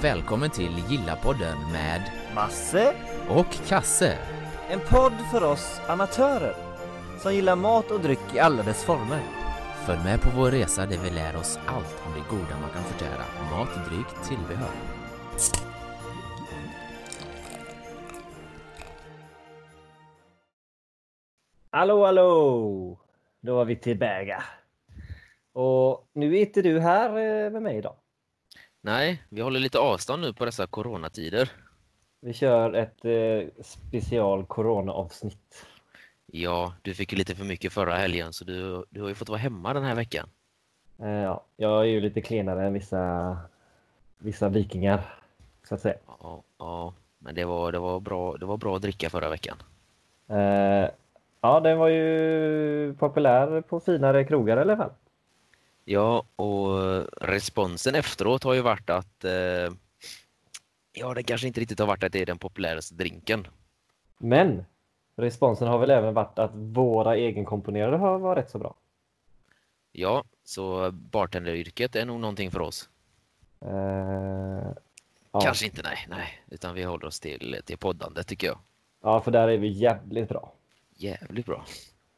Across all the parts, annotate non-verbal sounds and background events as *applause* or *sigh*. välkommen till Gilla-podden med Masse, och Kasse. en podd för oss amatörer som gillar mat och dryck i alla dess former. Följ med på vår resa där vi lär oss allt om det goda man kan förtära, mat, dryck, tillbehör. Hallå, hallå! Då var vi tillbaka. Och nu är inte du här eh, med mig idag. Nej, vi håller lite avstånd nu på dessa coronatider. Vi kör ett eh, special corona-avsnitt. Ja, du fick ju lite för mycket förra helgen så du, du har ju fått vara hemma den här veckan. Eh, ja, jag är ju lite klenare än vissa, vissa vikingar, så att säga. Ja, ja men det var, det, var bra, det var bra att dricka förra veckan. Eh, ja, den var ju populär på finare krogar i alla fall. Ja, och eh, responsen efteråt har ju varit att eh, Ja, det kanske inte riktigt har varit att det är den populäraste drinken. Men responsen har väl även varit att våra egenkomponerade har varit rätt så bra. Ja, så bartenderyrket är nog någonting för oss. Eh, ja. Kanske inte, nej, nej. Utan vi håller oss till, till poddandet tycker jag. ja, för där är vi jävligt bra. Jävligt bra.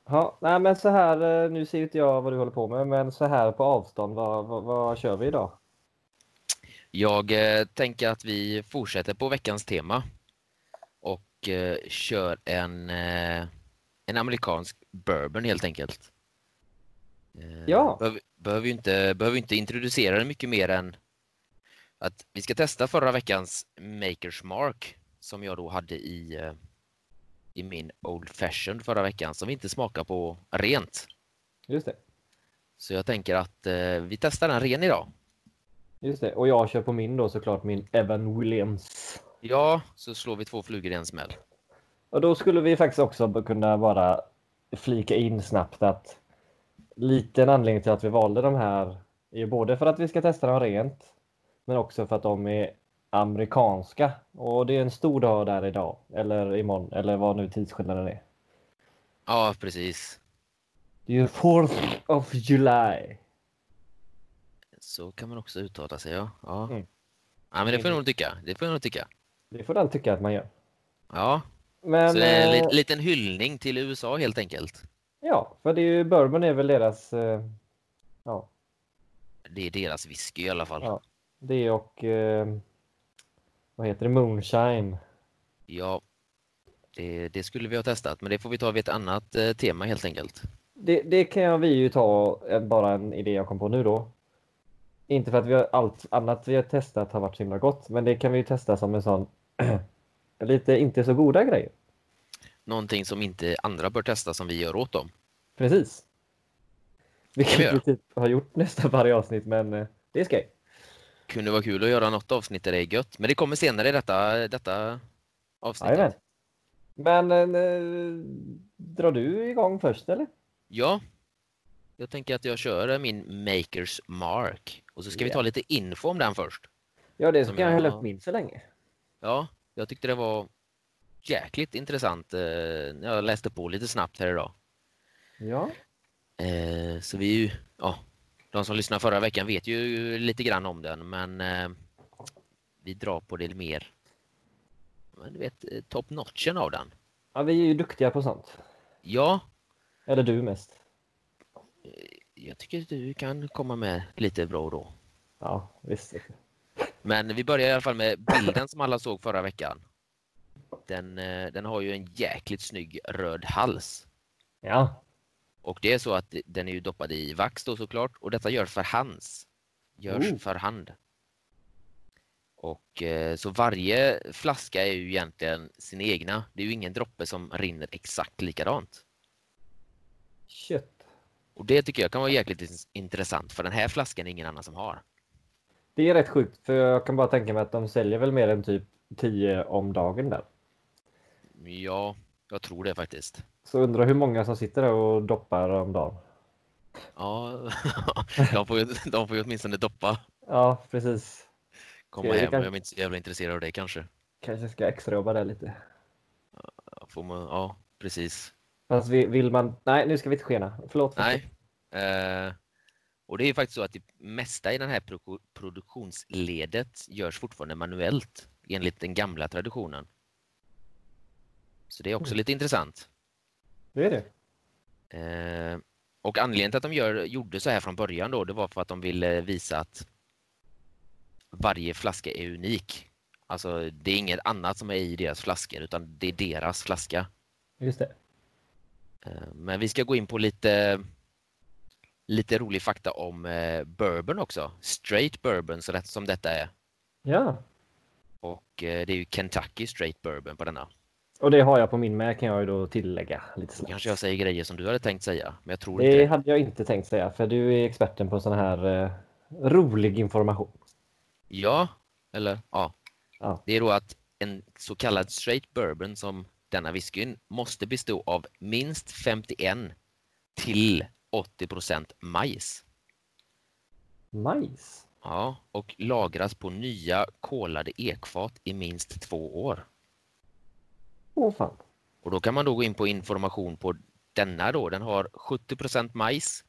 Ja, nej men så här, eh, nu ser ju inte jag vad du håller på med, men så här på avstånd, vad, vad, vad kör vi idag? Jag eh, tänker att vi fortsätter på veckans tema och eh, kör en, eh, en amerikansk bourbon helt enkelt. Eh, Ja. Behöver, behöver, ju inte, behöver ju inte introducera det mycket mer än att vi ska testa förra veckans Makers Mark som jag då hade i, eh, i min Old Fashioned förra veckan som vi inte smakar på rent. Just det, Så jag tänker att eh, vi testar den ren idag. just det. Och jag kör på min då såklart, min Evan Williams. Ja, så slår vi två flugor i en smäll. Och då skulle vi faktiskt också b- kunna bara flika in snabbt att liten anledning till att vi valde de här är ju både för att vi ska testa dem rent men också för att de är amerikanska och det är en stor dag där idag eller imorgon eller vad nu tidsskillnaden är. Ja, precis. Det är ju 4th of July. Så kan man också uttala sig, ja. Ja, Mm. ja men det får jag nog tycka. Det får jag nog tycka. Det får den tycka att man gör. Ja, Men så en eh, li- liten hyllning till USA helt enkelt. ja, för det är ju bourbon är väl deras eh, ja, Det är deras whisky i alla fall. Ja, Ja. det och eh, vad heter det moonshine. det, det skulle vi ha testat, men det får vi ta vid ett annat eh, tema helt enkelt. Det, det kan jag- vi ju ta en, bara en idé jag kom på nu då. Inte för att vi har allt annat vi har testat har varit så himla gott, men det kan vi ju testa som en sån *clears throat* lite inte så goda grejer. Någonting som inte andra bör testa som vi gör åt dem. Precis. Kan vi Vilket göra. vi typ har gjort nästan varje avsnitt, men eh, det är skoj. Kunde vara kul att göra något avsnitt där det är gött, men det kommer senare i detta, detta avsnittet. Jajamän. Men eh, drar du igång först eller? Ja, jag tänker att jag kör min Makers Mark. Och så ska vi Ja. ta lite info om den först. Ja, det Som ska jag jag- hälla upp min så länge. Ja, jag tyckte det var jäkligt intressant eh, när jag läste på lite snabbt här idag. Ja. Eh, så vi är ju, ja, de som lyssnade förra veckan vet ju lite grann om den, men eh, vi drar på det mer. Men du vet, eh, top notchen av den. ja, vi är ju duktiga på sånt. Ja, Eller du mest. jag tycker att du kan komma med lite bra då. Ja, visst. Men vi börjar i alla fall med bilden som alla såg förra veckan. Den, eh, den har ju en jäkligt snygg röd hals. Ja, Och det är så att den är ju doppad i vax då såklart och detta görs för hands. Görs Oh. för hand. Och eh, så varje flaska är ju egentligen sin egna. Det är ju ingen droppe som rinner exakt likadant. kött. Och det tycker jag kan vara jäkligt ins- intressant för den här flaskan är ingen annan som har. Det är rätt sjukt för jag kan bara tänka mig att de säljer väl mer än typ 10 om dagen där. Ja, jag tror det faktiskt. Så undrar hur många som sitter där och doppar om dagen. Ja, *laughs* de får ju, de får ju åtminstone doppa. Ja, precis. Komma Okej, det hem, jag kanske- är inte så jävla intresserad av det kanske. Kanske ska extrajobba där lite. Får man, ja, precis. Fast vi- vill man... Nej, nu ska vi inte skena. Förlåt. Nej. Eh, Och det är ju faktiskt så att det mesta i det här produ- produktionsledet görs fortfarande manuellt enligt den gamla traditionen. Så det är också Mm. lite intressant. Det är det. Eh, och anledningen till att de gör, gjorde så här från början då, det var för att de ville visa att varje flaska är unik. Alltså det är inget annat som är i deras flaskor utan det är deras flaska. Just det. Eh, Men vi ska gå in på lite, lite rolig fakta om eh, bourbon också. Straight bourbon så det, som detta är. Ja. Och eh, det är ju Kentucky straight bourbon på denna. Och det har jag på min med kan jag ju då tillägga lite Då snabbt. kanske jag säger grejer som du hade tänkt säga, men jag tror inte Det det. hade jag inte tänkt säga för du är experten på sån här eh, rolig information. Ja, eller ja. Ja. Det är då att en så kallad straight bourbon som denna whiskyn måste bestå av minst 51 till 80 majs. Majs. Ja, och lagras på nya kolade ekfat i minst två år. Åh fan. Och då kan man då gå in på information på denna då. Den har 70 majs,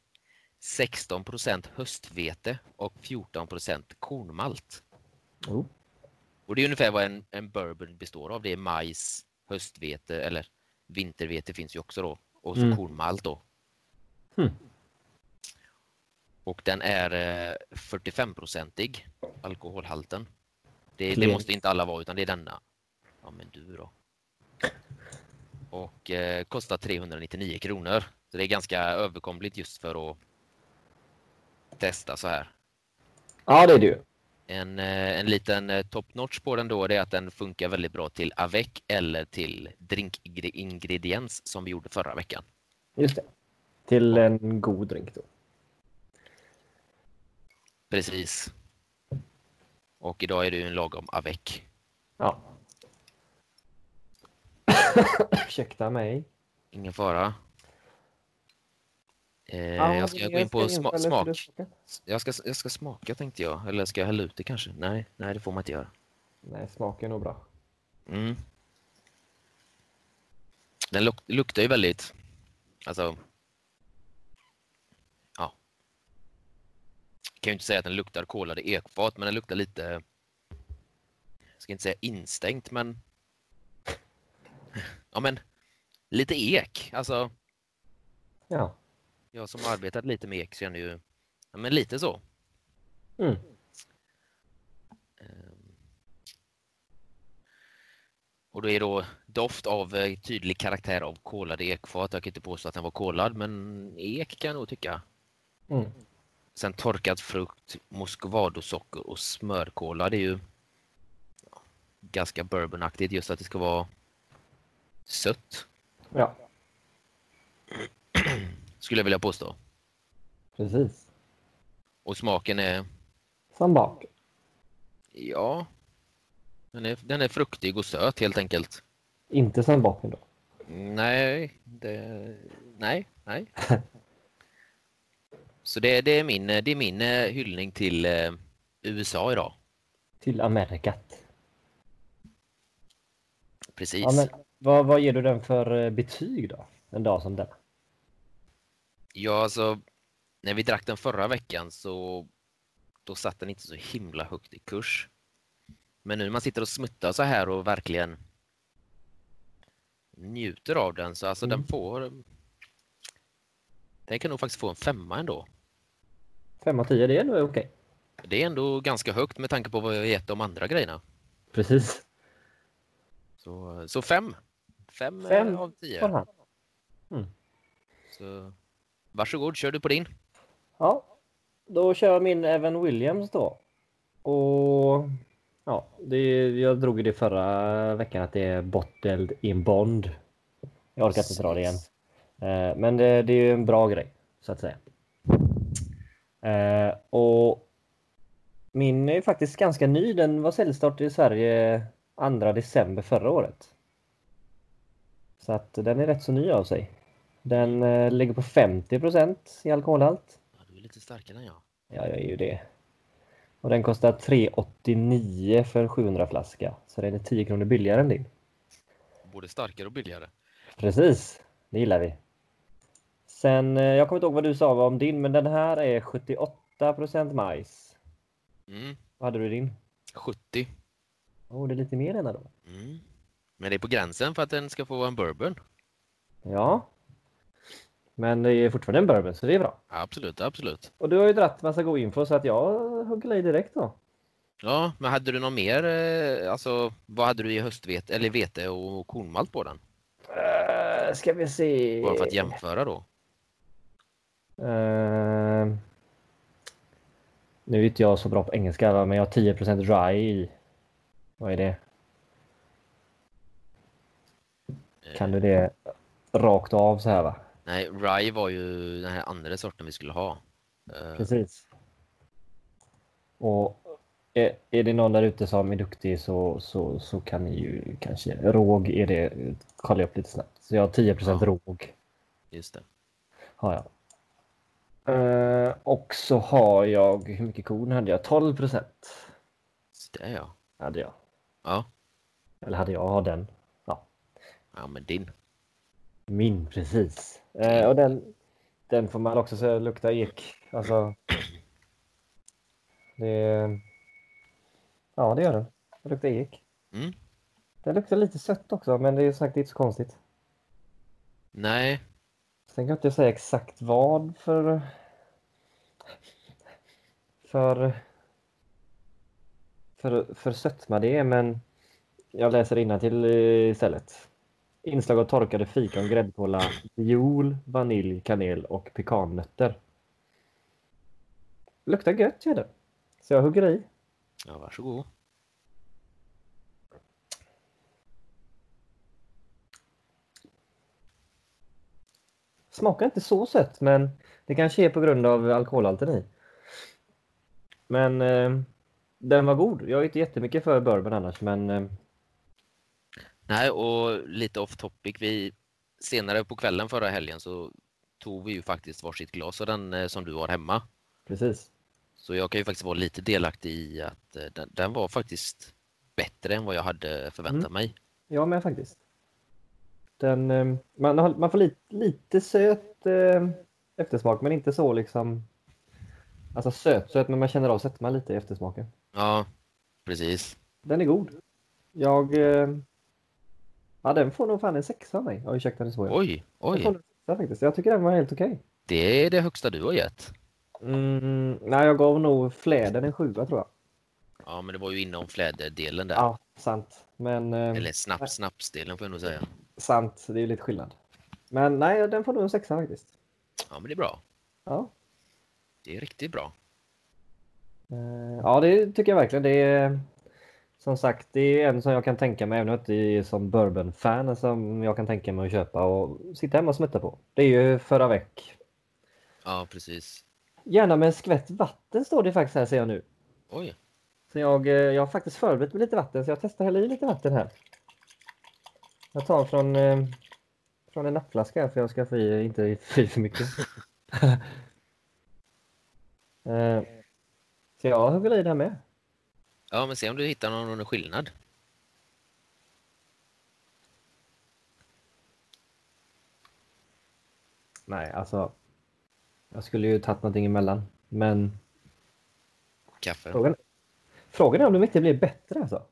16 höstvete och 14 kornmalt. Oh. Och det är ungefär vad en, en bourbon består av. Det är majs, höstvete eller vintervete finns ju också då. Och så Mm. kornmalt då. Hmm. Och den är eh, 45-procentig alkoholhalten. Det, det Clear. måste inte alla vara utan det är denna. Ja men du då. Och eh, kostar 399 kronor. Så det är ganska överkomligt just för att testa så här. Ja det är du. En, eh, en liten eh, top notch på den då det är att den funkar väldigt bra till avec eller till drinkingrediens som vi gjorde förra veckan. Just det. Till en god drink då. Precis. Och idag är det ju en lagom avec. Ja. *coughs* Ursäkta mig. Ingen fara. Eh, Ja, jag ska men gå in på ska sma- infalla smak. för det. Jag ska, jag ska smaka tänkte jag. Eller ska jag hälla ut det kanske? Nej, nej det får man inte göra. Nej, smaken är nog bra. Mm. Den luk- luktar ju väldigt... Alltså... Ja. Kan ju inte säga att den luktar kolade ekfat, men den luktar lite... Jag ska inte säga instängt, men... *laughs* Ja, men... Lite ek. Alltså, Ja. jag som har arbetat lite med ek känner ju... Ja, men lite så. Mm. Ehm. Och det är då doft av eh, tydlig karaktär av kolade ekfat. Jag kan inte påstå att den var kolad, men ek kan jag nog tycka. Mm. Sen torkad frukt, moskovadosocker och smörkola. Det är ju ganska bourbonaktigt just att det ska vara sött, Ja, skulle jag vilja påstå. precis. Och smaken är, Som bak. ja, den är, den är fruktig och söt helt enkelt. Inte som baken då. Nej, det, nej, nej. *laughs* Så det, det, är min, det är min eh, hyllning till eh, USA idag. Till Amerikat. Precis. Ja, men, vad, vad ger du den för eh, betyg då? En dag som denna. Ja, alltså när vi drack den förra veckan så då satt den inte så himla högt i kurs. Men nu när man sitter och smuttar så här och verkligen njuter av den så alltså den Mm. får den kan nog faktiskt få en femma ändå. fem av tio det är nog okej. Det är ändå ganska högt med tanke på vad jag har gett de andra grejerna. Precis. Så, så fem. Fem, eh, Fem av tio. Får han. Så, varsågod, kör du på din. Ja, då kör jag min Evan Williams då. Och ja, det, jag drog ju det förra veckan att det är bottled in bond. Jag orkar inte dra det igen. Eh, Men det, det är ju en bra grej, så att säga. Eh, Och min är ju faktiskt ganska ny. Den var säljstart i Sverige 2 december förra året. Så att den är rätt så ny av sig. Den eh, ligger på 50 i alkoholhalt. Ja, du är lite starkare än jag. Ja, jag är ju det. Och den kostar 3,89 för 700 flaska. Så den är 10 kronor billigare än din. Både starkare och billigare. Precis, det gillar vi. Sen, eh, jag kommer inte ihåg vad du sa om din, men den här är 78% majs. Mm, Vad hade du i din? 70. Oh, det är lite mer än då. Mm. Men det är på gränsen för att den ska få vara en bourbon. Ja. Men det är fortfarande en bourbon, så det är bra. Absolut, absolut. Och du har ju dratt massa god info, så att jag hugger i direkt då. Ja, men hade du något mer? eh, Alltså, vad hade du i höstvete, eller vete och kornmalt på den? Uh, ska vi se. Bara för att jämföra då. Eh, nu är inte jag så bra på engelska, va, men jag har 10% dry i. Vad är det? Kan du det rakt av så här va? Eh, Nej, rye var ju den här andra sorten vi skulle ha. Eh, Precis. Och är, är det någon där ute som är duktig så, så, så kan ni ju kanske... Råg är det, kollar jag upp lite snabbt. Så jag har 10% Ja. råg. Just det. Har jag. Eh, och så har jag, hur mycket korn hade jag? 12% Så det är jag. hade jag. Ja. Eller hade jag, har den. ja, men din. Min, precis. Eh, och den, den får man också säga lukta ek. Alltså, det... Ja, det gör den. Den luktar ek. Mm. Den luktar lite sött också, men det är sagt inte så konstigt. Nej, Sen kan jag inte säga exakt vad för... För... För, för sötma det är, men jag läser till istället. Inslag av torkade fikon, gräddkola, viol, vanilj, kanel och pekannötter. Luktar gött gör det. Så jag hugger i. ja, varsågod. Smakar inte så sött, men det kanske är på grund av alkoholhalten i. Men eh, den var god. Jag är inte jättemycket för bourbon annars, men eh, Nej, och lite off topic. Vi, senare på kvällen förra helgen så tog vi ju faktiskt varsitt glas av den eh, som du har hemma. precis. Så jag kan ju faktiskt vara lite delaktig i att eh, den, den var faktiskt bättre än vad jag hade förväntat Mm. mig. Jag med faktiskt. Den, eh, man, har, man får lite, lite söt eh, eftersmak, men inte så liksom... Alltså söt, söt, men man känner av sötman lite i eftersmaken. Ja, precis. Den är god. Jag... Eh, ja, den får nog fan en sexa av mig. Ja, ursäkta, nu svor jag. Oj, Den får oj. nog en sexa faktiskt. Jag tycker den var helt okej. Det är det högsta du har gett. Mm, nej, jag gav nog fläden en sjua tror jag. Ja, men det var ju inom fläderdelen där. Ja, sant. Men eh, Eller snaps, snapsdelen får jag nog säga. sant, det är ju lite skillnad. Men nej, den får nog en sexa faktiskt. Ja, men det är bra. Ja, Det är riktigt bra. eh, ja det tycker jag verkligen. Det är, som sagt, det är en som jag kan tänka mig, även om jag inte är som bourbon-fan, som jag kan tänka mig att köpa och sitta hemma och smutta på. Det är ju förra veck. Ja, precis. Gärna med en skvätt vatten står det faktiskt här ser jag nu. Oj. Så jag, eh, jag har faktiskt förberett med lite vatten, så jag testar att hälla i lite vatten här. Jag tar från, eh, från en nappflaska här, för jag ska få i, inte få i för *laughs* mycket. Eh, så jag hugger i det här med. Ja, men se om du hittar någon, någon skillnad. Nej, alltså. Jag skulle ju tagit någonting emellan, men Kaffe. frågan, frågan är om de inte blir bättre alltså.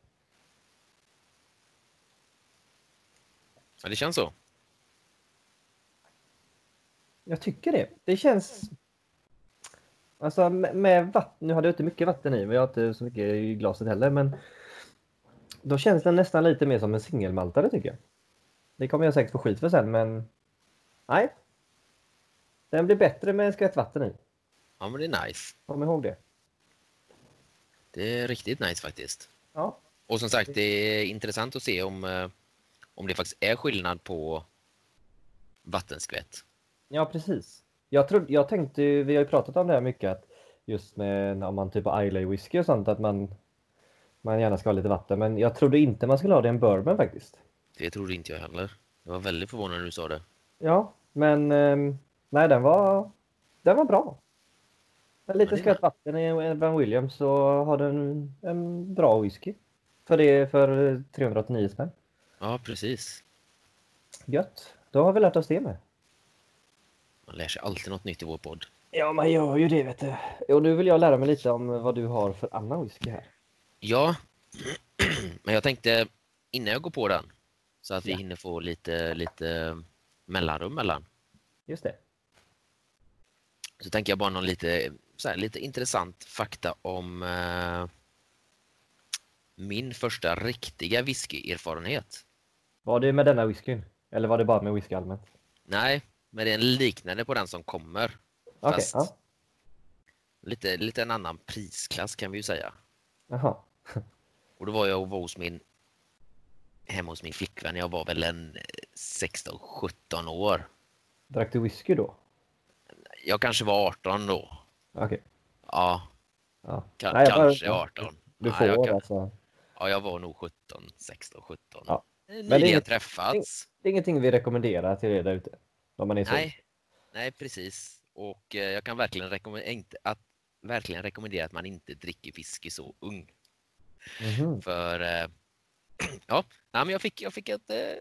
Ja, det känns så. Jag tycker det. Det känns... Alltså med, med vatten, nu hade jag inte mycket vatten i, men jag har inte så mycket i glaset heller, men då känns den nästan lite mer som en singelmaltare tycker jag. Det kommer jag säkert få skit för sen, men nej. Den blir bättre med en skvätt vatten i. Ja, men det är nice. Kom ihåg det. Det är riktigt nice faktiskt. Ja, Och som sagt, det är intressant att se om, eh, om det faktiskt är skillnad på vattenskvätt. ja precis. Jag, trodde, jag tänkte ju, vi har ju pratat om det här mycket, att just med om man typ har Islay whisky och sånt, att man, man gärna ska ha lite vatten, men jag trodde inte man skulle ha det i en bourbon faktiskt. Det tror inte jag heller. Jag var väldigt förvånad när du sa det. Ja, men ehm, nej, den var, den var bra. Med Ja, lite det är skvätt vatten i Van Williams så har den en bra whisky. För det för 389 spänn. Ja, precis. Gött. Då har vi lärt oss det med. Man lär sig alltid något nytt i vår podd. Ja, man gör ju det vet du. Och nu vill jag lära mig lite om vad du har för annan whisky här. Ja, *clears throat* men jag tänkte innan jag går på den så att vi Ja. hinner få lite, lite mellanrum mellan. Just det. Så tänker jag bara någon lite, så här, lite intressant fakta om eh, min första riktiga whiskyerfarenhet. Var det med denna whiskyn? Eller var det bara med whisky allmänt? Nej, men det är en liknande på den som kommer. Okej, Fast- ja. Lite, lite en annan prisklass kan vi ju säga. Jaha. Och då var jag och var hos min, hemma hos min flickvän. Jag var väl en 16-17 år. Drack du whisky då? Jag kanske var 18 då. Okej. Ja, Ja. ka- Nej, jag bara- kanske 18. Du Nej, får jag, kan- alltså. ja, jag var nog 17, 16, 17. Ja. det är Nyligen inget- träffats. Det är ingenting vi rekommenderar till er där ute. Om man är så. Nej, nej, precis. Och eh, jag kan verkligen rekommendera, inte, att, verkligen rekommendera att man inte dricker whisky så ung. Mhm. För eh, *clears throat* ja, nej, men jag fick, jag fick ett, eh,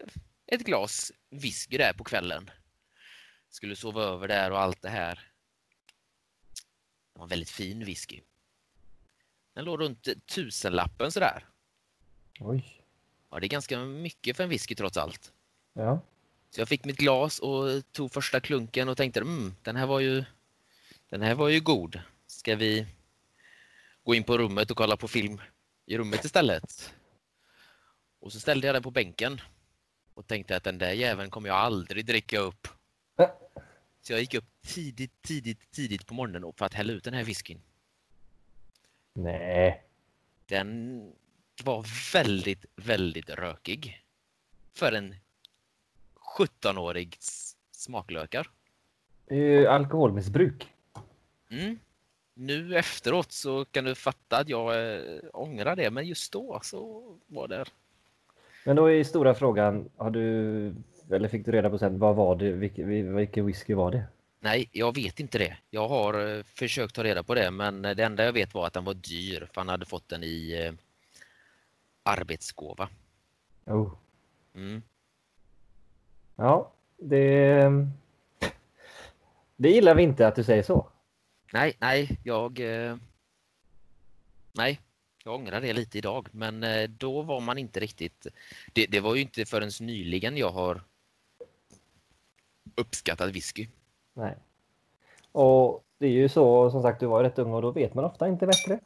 ett glas whisky där på kvällen. Skulle sova över där och allt det här. Det var en väldigt fin whisky. Den låg runt eh, tusenlappen sådär. Oj. Ja, det är ganska mycket för en whisky trots allt. Ja. Så jag fick mitt glas och tog första klunken och tänkte mm, den här var ju den här var ju god. Ska vi gå in på rummet och kolla på film i rummet istället? Och så ställde jag den på bänken och tänkte att den där jäveln kommer jag aldrig dricka upp. Äh. Så jag gick upp tidigt, tidigt, tidigt på morgonen och- för att hälla ut den här whiskyn. Nej. Den var väldigt, väldigt rökig. För en 17-årig s- smaklökar. Det är ju alkoholmissbruk. Mm. Nu efteråt så kan du fatta att jag eh, ångrar det, men just då så var det... Men då är stora frågan, har du, eller fick du reda på sen, vad var det, vilken, vilken whisky var det? Nej, jag vet inte det. Jag har eh, försökt ta reda på det, men eh, det enda jag vet var att den var dyr, för han hade fått den i eh, arbetsgåva. Oh. Mm. Ja, det... Det gillar vi inte att du säger så. Nej, nej, jag... eh, Nej, jag ångrar det lite idag, men eh, då var man inte riktigt... Det, det var ju inte förrän nyligen jag har uppskattat whisky. Nej. Och det är ju så, som sagt, du var ju rätt ung och då vet man ofta inte bättre.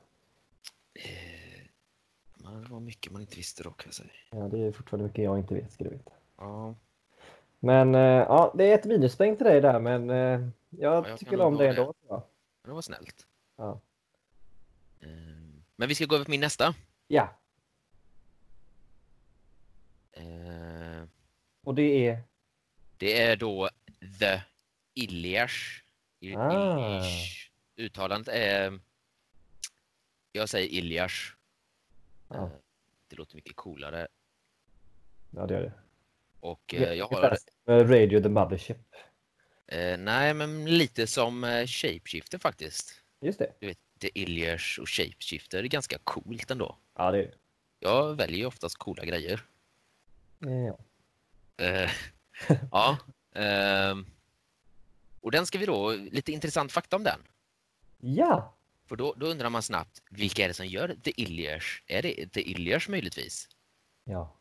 Men Det var mycket man inte visste då kan jag säga. Ja, det är fortfarande mycket jag inte vet, ska du veta. Ja, Men eh, ja, det är ett minuspoäng till dig där, men eh, jag, jag tycker kan om nog dig ha det. ändå. Ja. det var snällt. Ja. Ehm, Men vi ska gå över på min nästa. ja, Ehm, och det är... Det är då The Iliash. Il- Ah. Iliash. Uttalandet är... Jag säger Iliash. Ja. Ehm, Det låter mycket coolare. Ja, det gör det. Och Ja, eh, jag har... Ungefär som, eh, Radio the Mothership. eh, Nej, men lite som eh, Shapeshifter faktiskt. Just det. Du vet, The Iliash och Shapeshifter är ganska coolt ändå. Ja, det är det. Jag väljer ju oftast coola grejer. Ja. Eh, *laughs* ja. ehm, och den ska vi då, lite intressant fakta om den. ja, För då, då undrar man snabbt, vilka är det som gör The Illiers? Är det The Illiers möjligtvis? ja.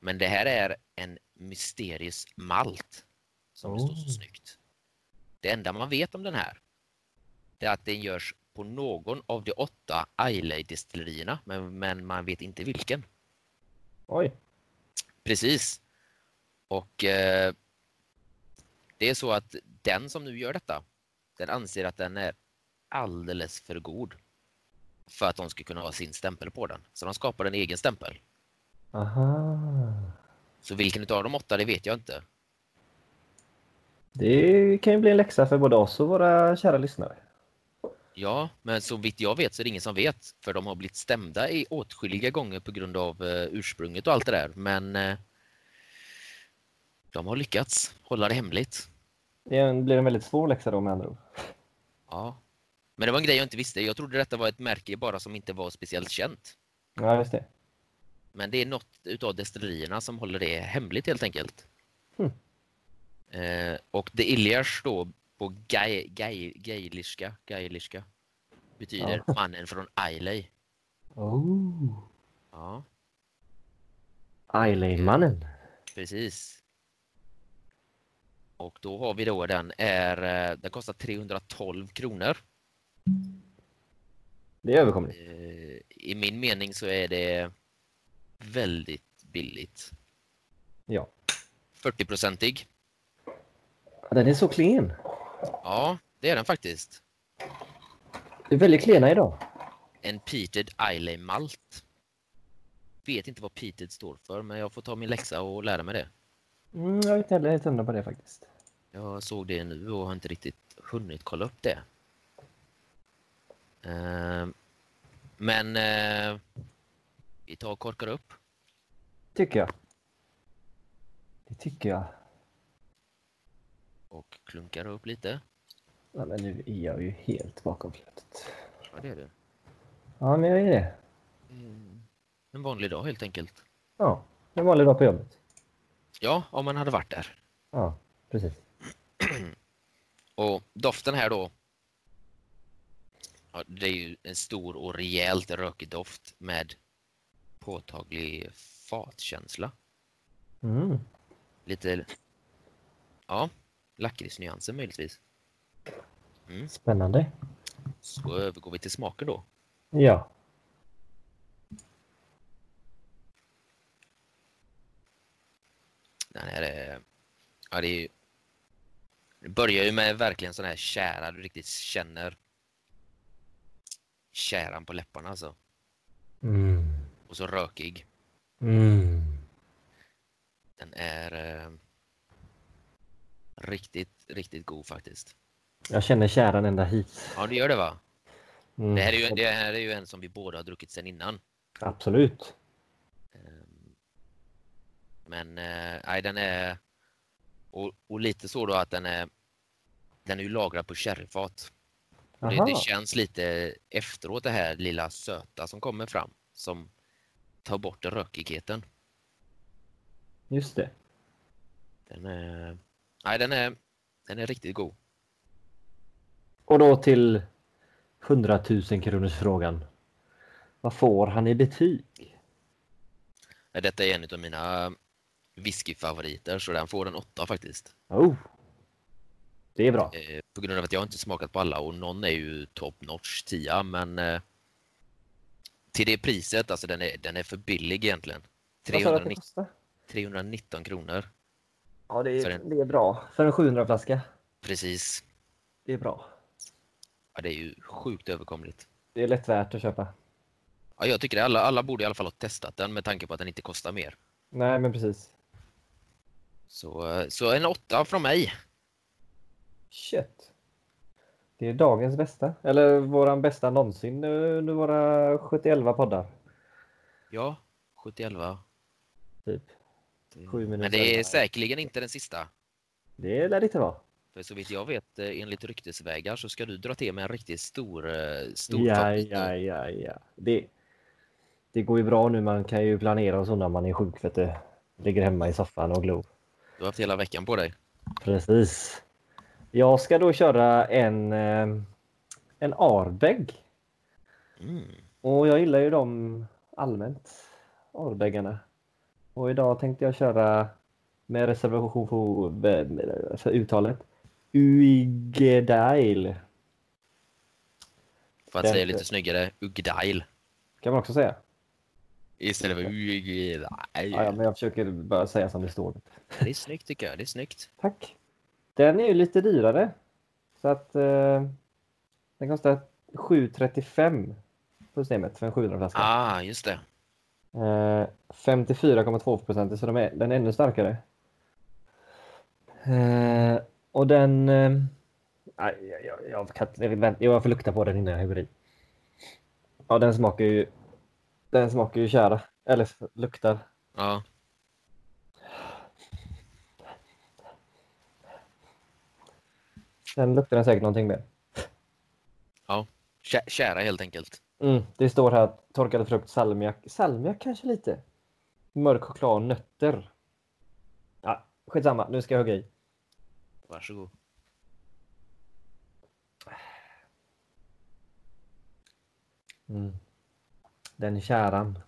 Men det här är en mysterious malt. Som det står så Oh. snyggt. Det enda man vet om den här, det är att den görs på någon av de åtta Islay-destillerierna, men, men man vet inte vilken. Oj. Precis. Och eh, det är så att den som nu gör detta, den anser att den är alldeles för god för att de ska kunna ha sin stämpel på den. Så de skapar en egen stämpel. Aha. Så vilken utav de åtta, det vet jag inte. Det kan ju bli en läxa för både oss och våra kära lyssnare. Ja, men så vitt jag vet så är det ingen som vet, för de har blivit stämda i åtskilliga gånger på grund av eh, ursprunget och allt det där, men eh, de har lyckats hålla det hemligt. Det är en- blir en väldigt svår läxa då med andra ord. Ja. Men det var en grej jag inte visste. Jag trodde detta var ett märke bara som inte var speciellt känt. Ja, just det. Men det är något utav destillerierna som håller det hemligt helt enkelt. Hmm. Eh, och det Ilyas då på gai- gai- gaeliska, gaeliska betyder mannen från Islay. Oh. Ja, Islay-mannen. precis. Och då har vi då den är, eh, den kostar 312 kronor. Det är överkomligt. Eh, I min mening så är det väldigt billigt. Ja. 40-procentig. Den är så klen. Ja, det är den faktiskt. Det är väldigt klena idag. En peated Islay Malt. Vet inte vad peated står för, men jag får ta min läxa och lära mig det. Mm, jag är inte heller helt hundra på det faktiskt. Jag såg det nu och har inte riktigt hunnit kolla upp det. Ehm, Men eh, vi tar och korkar upp. Tycker jag. Det tycker jag. och klunkar upp lite. Ja, men nu är jag ju helt bakom flödet. Ja, det är det. Ja, men jag är det. Mm. En vanlig dag helt enkelt. Ja, en vanlig dag på jobbet. Ja, om man hade varit där. Ja, precis. Och doften här då. Ja, det är ju en stor och rejält rökig doft med påtaglig fatkänsla. Mm. Lite, ja, lakritsnyanser möjligtvis. Spännande. Så övergår vi till smaken då. Ja. Den här är... Ja, det är ju... Det börjar ju med verkligen sån här kära, du riktigt känner käran på läpparna alltså. Mm. Och så rökig. Mm. Den är eh, riktigt, riktigt god faktiskt. Jag känner käran ända hit. Ja, det gör det va? Mm. Det här, är ju, det här är ju en som vi båda har druckit sedan innan. Absolut. Ehm, Men eh, nej, den är... Och, och lite så då att den är... Den är ju lagrad på sherryfat. Och Det, Aha. det känns lite efteråt det här lilla söta som kommer fram som tar bort rökigheten. Just det. Den är, nej, den är, den är riktigt god. Och då till 100 000 kronors frågan. Vad får han i betyg? Ja, Detta är en av mina whiskyfavoriter så den får en åtta faktiskt. Oh. Det är bra. Eh, På grund av att jag inte smakat på alla och någon är ju top notch 10 men eh, till det priset, alltså den är, den är för billig egentligen. Vad sa du att 319, det kostar? 319 kronor. Ja, det För är, en- det är bra. För en 700-flaska. Precis. Det är bra. Ja, det är ju sjukt överkomligt. Det är lätt värt att köpa. Ja, jag tycker det. Alla, alla borde i alla fall ha testat den med tanke på att den inte kostar mer. Nej, men precis. Så, eh, så en åtta från mig. Shit. Det är dagens bästa. Eller våran bästa någonsin under våra 71 poddar. Ja, 71. Typ. Sju minuter. Men det är säkerligen inte den sista. Det lär det inte vara. För så vitt jag vet, eh, enligt ryktesvägar, så ska du dra till med en riktigt stor... eh, stor ja, favorit. ja, ja, ja. Det, det går ju bra nu. Man kan ju planera och så när man är sjuk. Vet du. Ligger hemma i soffan och glor. Du har haft hela veckan på dig. Precis. Jag ska då köra en, eh, en Arbeg. Mm. Och jag gillar ju dem allmänt, Arbäggarna. Och idag tänkte jag köra med reservation för, för uttalet. Uigedail För att Den- säga lite snyggare, Ugdail. kan man också säga. Istället för Ugdail. Ja, ja, men jag försöker bara säga som det står. Det är snyggt tycker jag. Det är snyggt. Tack. Den är ju lite dyrare. Så att eh, den kostar 7,35 på systemet för en 700 flaska. Ah, just det. Eh, 54,2 procent, så de är, den är ännu starkare. Eh, och den... Eh, aj, jag, jag, jag, kan, inte- jag, vet- vänta, jag får lukta på den innan jag häller i. Ja, den smakar ju... Den smakar ju tjära. Eller luktar. Ja. Sen luktar den säkert någonting mer. Kä- Kära helt enkelt. Mm, det står här torkad frukt, salmiak. Salmiak kanske lite. Mörk choklad, nötter. Ja, skitsamma, nu ska jag hugga i. Varsågod. Mm. Den käran.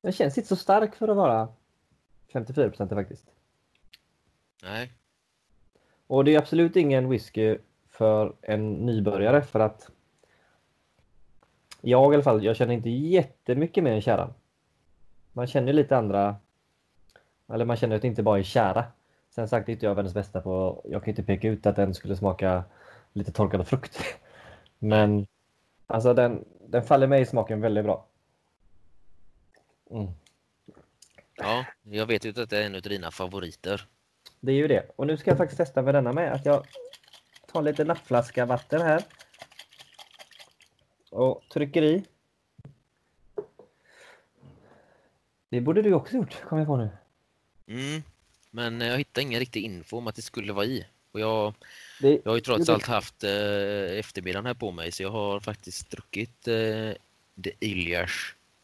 Den känns inte så stark för att vara 54 faktiskt. Nej. Och det är absolut ingen whisky för en nybörjare för att jag i alla fall, jag känner inte jättemycket mer än käran. Man känner ju lite andra, eller man känner att det inte bara är kära. Sen sagt, det är inte jag världens bästa på, jag kan ju inte peka ut att den skulle smaka lite torkad frukt. *laughs* Men alltså den, den faller mig i smaken väldigt bra. Mm. Ja, jag vet ju att det är en av dina favoriter. Det är ju det. Och nu ska jag faktiskt testa med denna med. Att jag tar lite nappflaska vatten här. Och trycker i. Det borde du också gjort, kom jag på nu. Mm. Men eh, jag hittar ingen riktig info om att det skulle vara i. Och jag, Det, jag har ju trots gjorde- allt haft eh, eftermiddagen här på mig så jag har faktiskt druckit eh, The Ilyas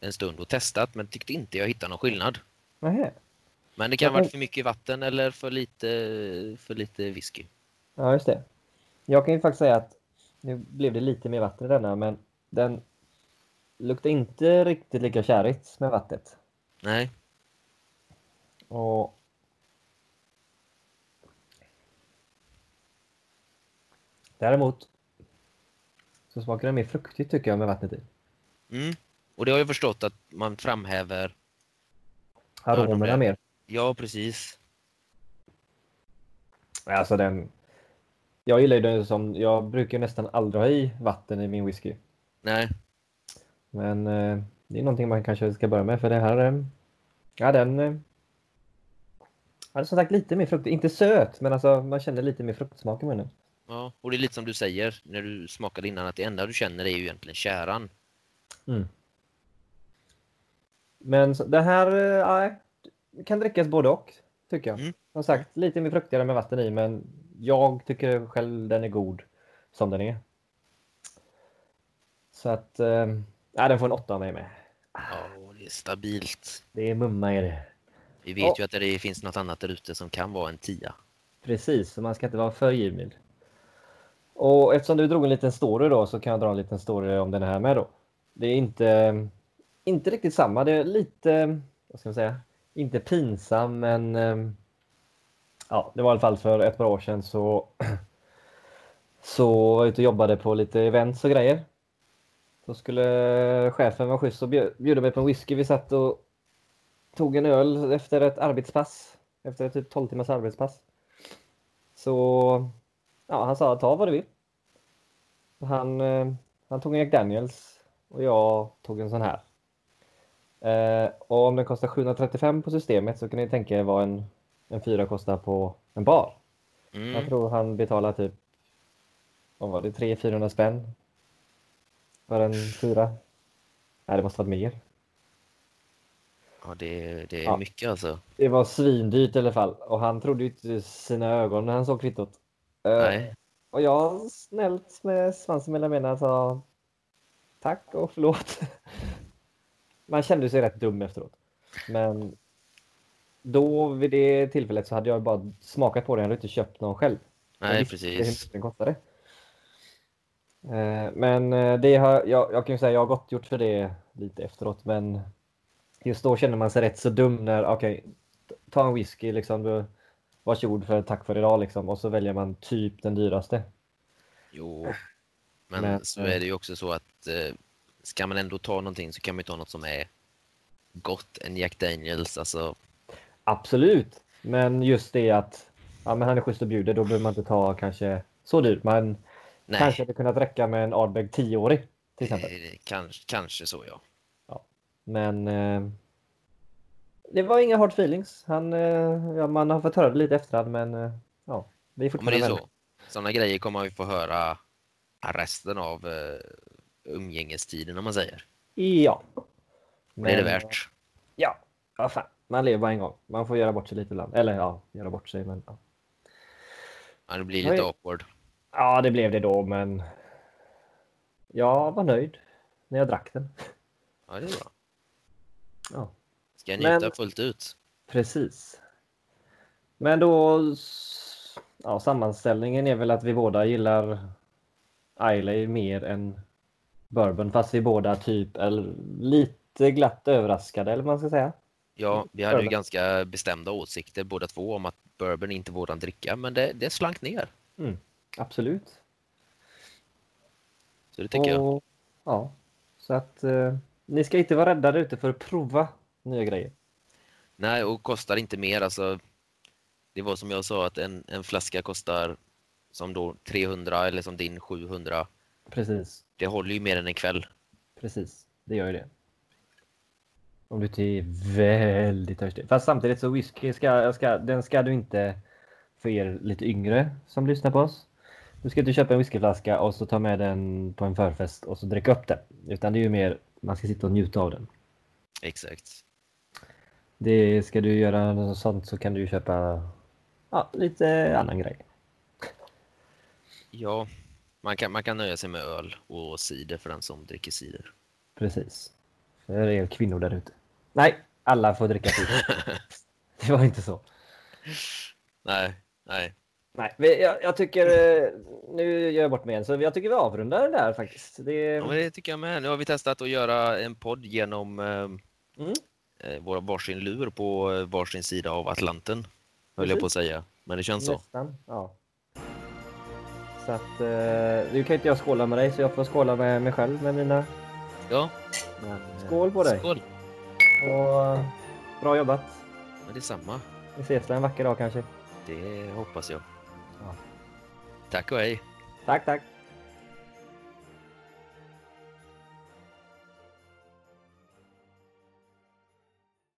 en stund och testat men tyckte inte jag hittade någon skillnad. Nähä. Men det kan Jag ha varit kan- för mycket vatten eller för lite, för lite whisky. Ja, just det. Jag kan ju faktiskt säga att nu blev det lite mer vatten i denna, men den luktar inte riktigt lika kärigt med vattnet. Nej. Och... Däremot så smakar den mer fruktigt tycker jag med vattnet i. Mm. Och det har jag förstått att man framhäver. Ja, Aromerna de är- mer. Ja, precis. Alltså den... Jag gillar ju den som... Jag brukar ju nästan aldrig ha i vatten i min whisky. Nej. Men eh, det är någonting man kanske ska börja med för det här... Eh, ja, den... Eh, ja, som sagt lite mer frukt. Inte söt, men alltså man känner lite mer fruktsmak i munnen. Ja, och det är lite som du säger när du smakade innan att det enda du känner är ju egentligen käran. Men så, det här eh, ja, kan drickas både och, tycker jag. Mm. Som sagt, lite mer fruktigare med vatten i, men jag tycker själv den är god som den är. Så att, eh, ja, den får en åtta av mig med. Ah, Ja, och det är stabilt. Det är mumma i det. Vi vet Ja. ju att det finns något annat där ute som kan vara en tia. Precis, så man ska inte vara för givmild. Och eftersom du drog en liten story då så kan jag dra en liten story om den här med då. Det är inte, inte riktigt samma, det är lite, vad ska man säga, inte pinsam men ehm, ja, det var i alla fall för ett par år sedan så *clears throat* så var jag ute och jobbade på lite events och grejer. Då skulle chefen vara schysst och bjö- bjuda mig på en whisky. Vi satt och tog en öl efter ett arbetspass, efter typ 12 timmars arbetspass. Så ja, han sa ta vad du vill. Han, eh, han tog en Jack Daniels och jag tog en sån här. Eh, och om den kostar 735 på systemet så kan ni tänka er vad en, en fyra kostar på en bar. Jag Mm. tror han betalar typ vad var det, 300-400 spänn. För en fyra. Nej, det måste varit mer. Ja, det, det är Ja. mycket alltså. Det var svindyrt i alla fall och han trodde ju inte sina ögon när han såg kvittot. Eh, Nej. Och jag snällt med svansen mellan benen sa alltså, tack och förlåt. *laughs* Man kände sig rätt dum efteråt. Men då vid det tillfället så hade jag bara smakat på den, jag hade inte köpt någon själv. Jag Nej, visste inte hur precis. mycket den kostade. Eh, Men eh, det har, jag, jag kan ju säga jag har gott gjort för det lite efteråt men just då känner man sig rätt så dum när okej, t- ta en whisky liksom. Du, varsågod för tack för idag liksom och så väljer man typ den dyraste. Jo. Men, Men, så eh, är det ju också så att eh, ska man ändå ta någonting så kan man ju ta något som är gott. En Jack Daniels, alltså. Absolut, men just det att ja, men han är schysst och bjuder då behöver man inte ta kanske så dyrt. Man Nej, kanske hade kunnat räcka med en Ardbeg 10-årig till exempel. eh, kanske, kanske så ja. Men eh, det var inga hard feelings. Han, eh, ja, man har fått höra det lite efterhand, men eh, ja, vi är Ja, Men fortfarande det är vänner. så. Sådana grejer kommer man ju få höra resten av eh, umgängestiden om man säger. Ja. Och det är det Men, värt. Ja, vad fan. Man lever bara en gång. Man får göra bort sig lite ibland. Eller ja, göra bort sig, men ja. Ja, det blir jag lite är- awkward. Ja, det blev det då, men jag var nöjd när jag drack den. Ja, det är bra. Ja. Ska jag Men- njuta fullt ut? Precis. Men då s- ja, sammanställningen är väl att vi båda gillar Islay mer än bourbon fast vi båda typ är lite glatt överraskade eller vad man ska säga. Ja, vi hade ju Bourbon. ganska bestämda åsikter båda två om att bourbon inte våran dricka, men det, det slank ner. Mm, Absolut. Så det tycker jag. Och, ja, så att eh, ni ska inte vara rädda där ute för att prova nya grejer. Nej, och kostar inte mer. Alltså, det var som jag sa att en, en flaska kostar som då 300 eller som din 700. Precis, Det håller ju mer än en kväll. precis. Det gör ju det. Om du inte är väldigt törstig. Fast samtidigt så whisky ska, jag ska, den ska du inte, för er lite yngre som lyssnar på oss. Du ska inte köpa en whiskyflaska och så ta med den på en förfest och så dricka upp den. Utan det är ju mer, man ska sitta och njuta av den. Exakt. Det ska du göra något sånt så kan du ju köpa ja, lite annan grej. Ja, man kan, man kan nöja sig med öl och cider för den som dricker cider. Precis. För er kvinnor där ute. Nej, alla får dricka cider. det var inte så. Nej, nej. Nej, vi- jag, jag tycker... eh, Nu gör jag bort mig igen, så jag tycker vi avrundar det där faktiskt. Det, Ja, men det tycker jag med. Nu har vi testat att göra en podd genom eh, mm, eh, våra varsin lur på eh, varsin sida av Atlanten. Höll jag på att säga. Men det känns så. nästan. Ja. Så att... eh, Nu kan inte jag skåla med dig, så jag får skåla med mig själv med mina... Ja. Men, eh, Skål på dig. Skål. Och, eh, bra jobbat. Men detsamma. Vi ses väl en vacker dag kanske. Det hoppas jag. Ja. Tack och hej. Tack, tack.